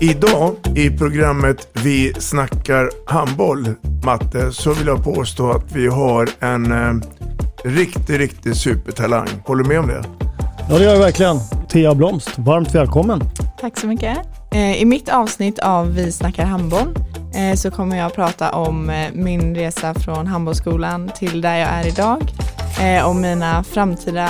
Idag i programmet Vi snackar handboll, Matte, så vill jag påstå att vi har en eh, riktig, riktig supertalang. Håller du med om det? Ja, det gör jag verkligen. Thea Blomst, varmt välkommen. Tack så mycket. Eh, I mitt avsnitt av Vi snackar handboll eh, så kommer jag prata om eh, min resa från handbollsskolan till där jag är idag, eh, om mina framtida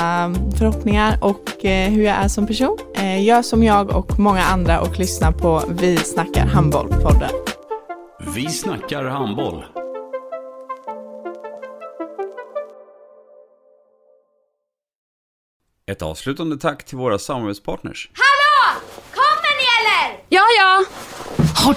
förhoppningar och eh, hur jag är som person. Eh, Gör som jag och många andra och lyssna på Vi snackar handboll-podden. Vi snackar handboll. Ett avslutande tack till våra samarbetspartners. Hallå! Kommer ni eller? Ja, ja. Har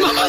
Mamma,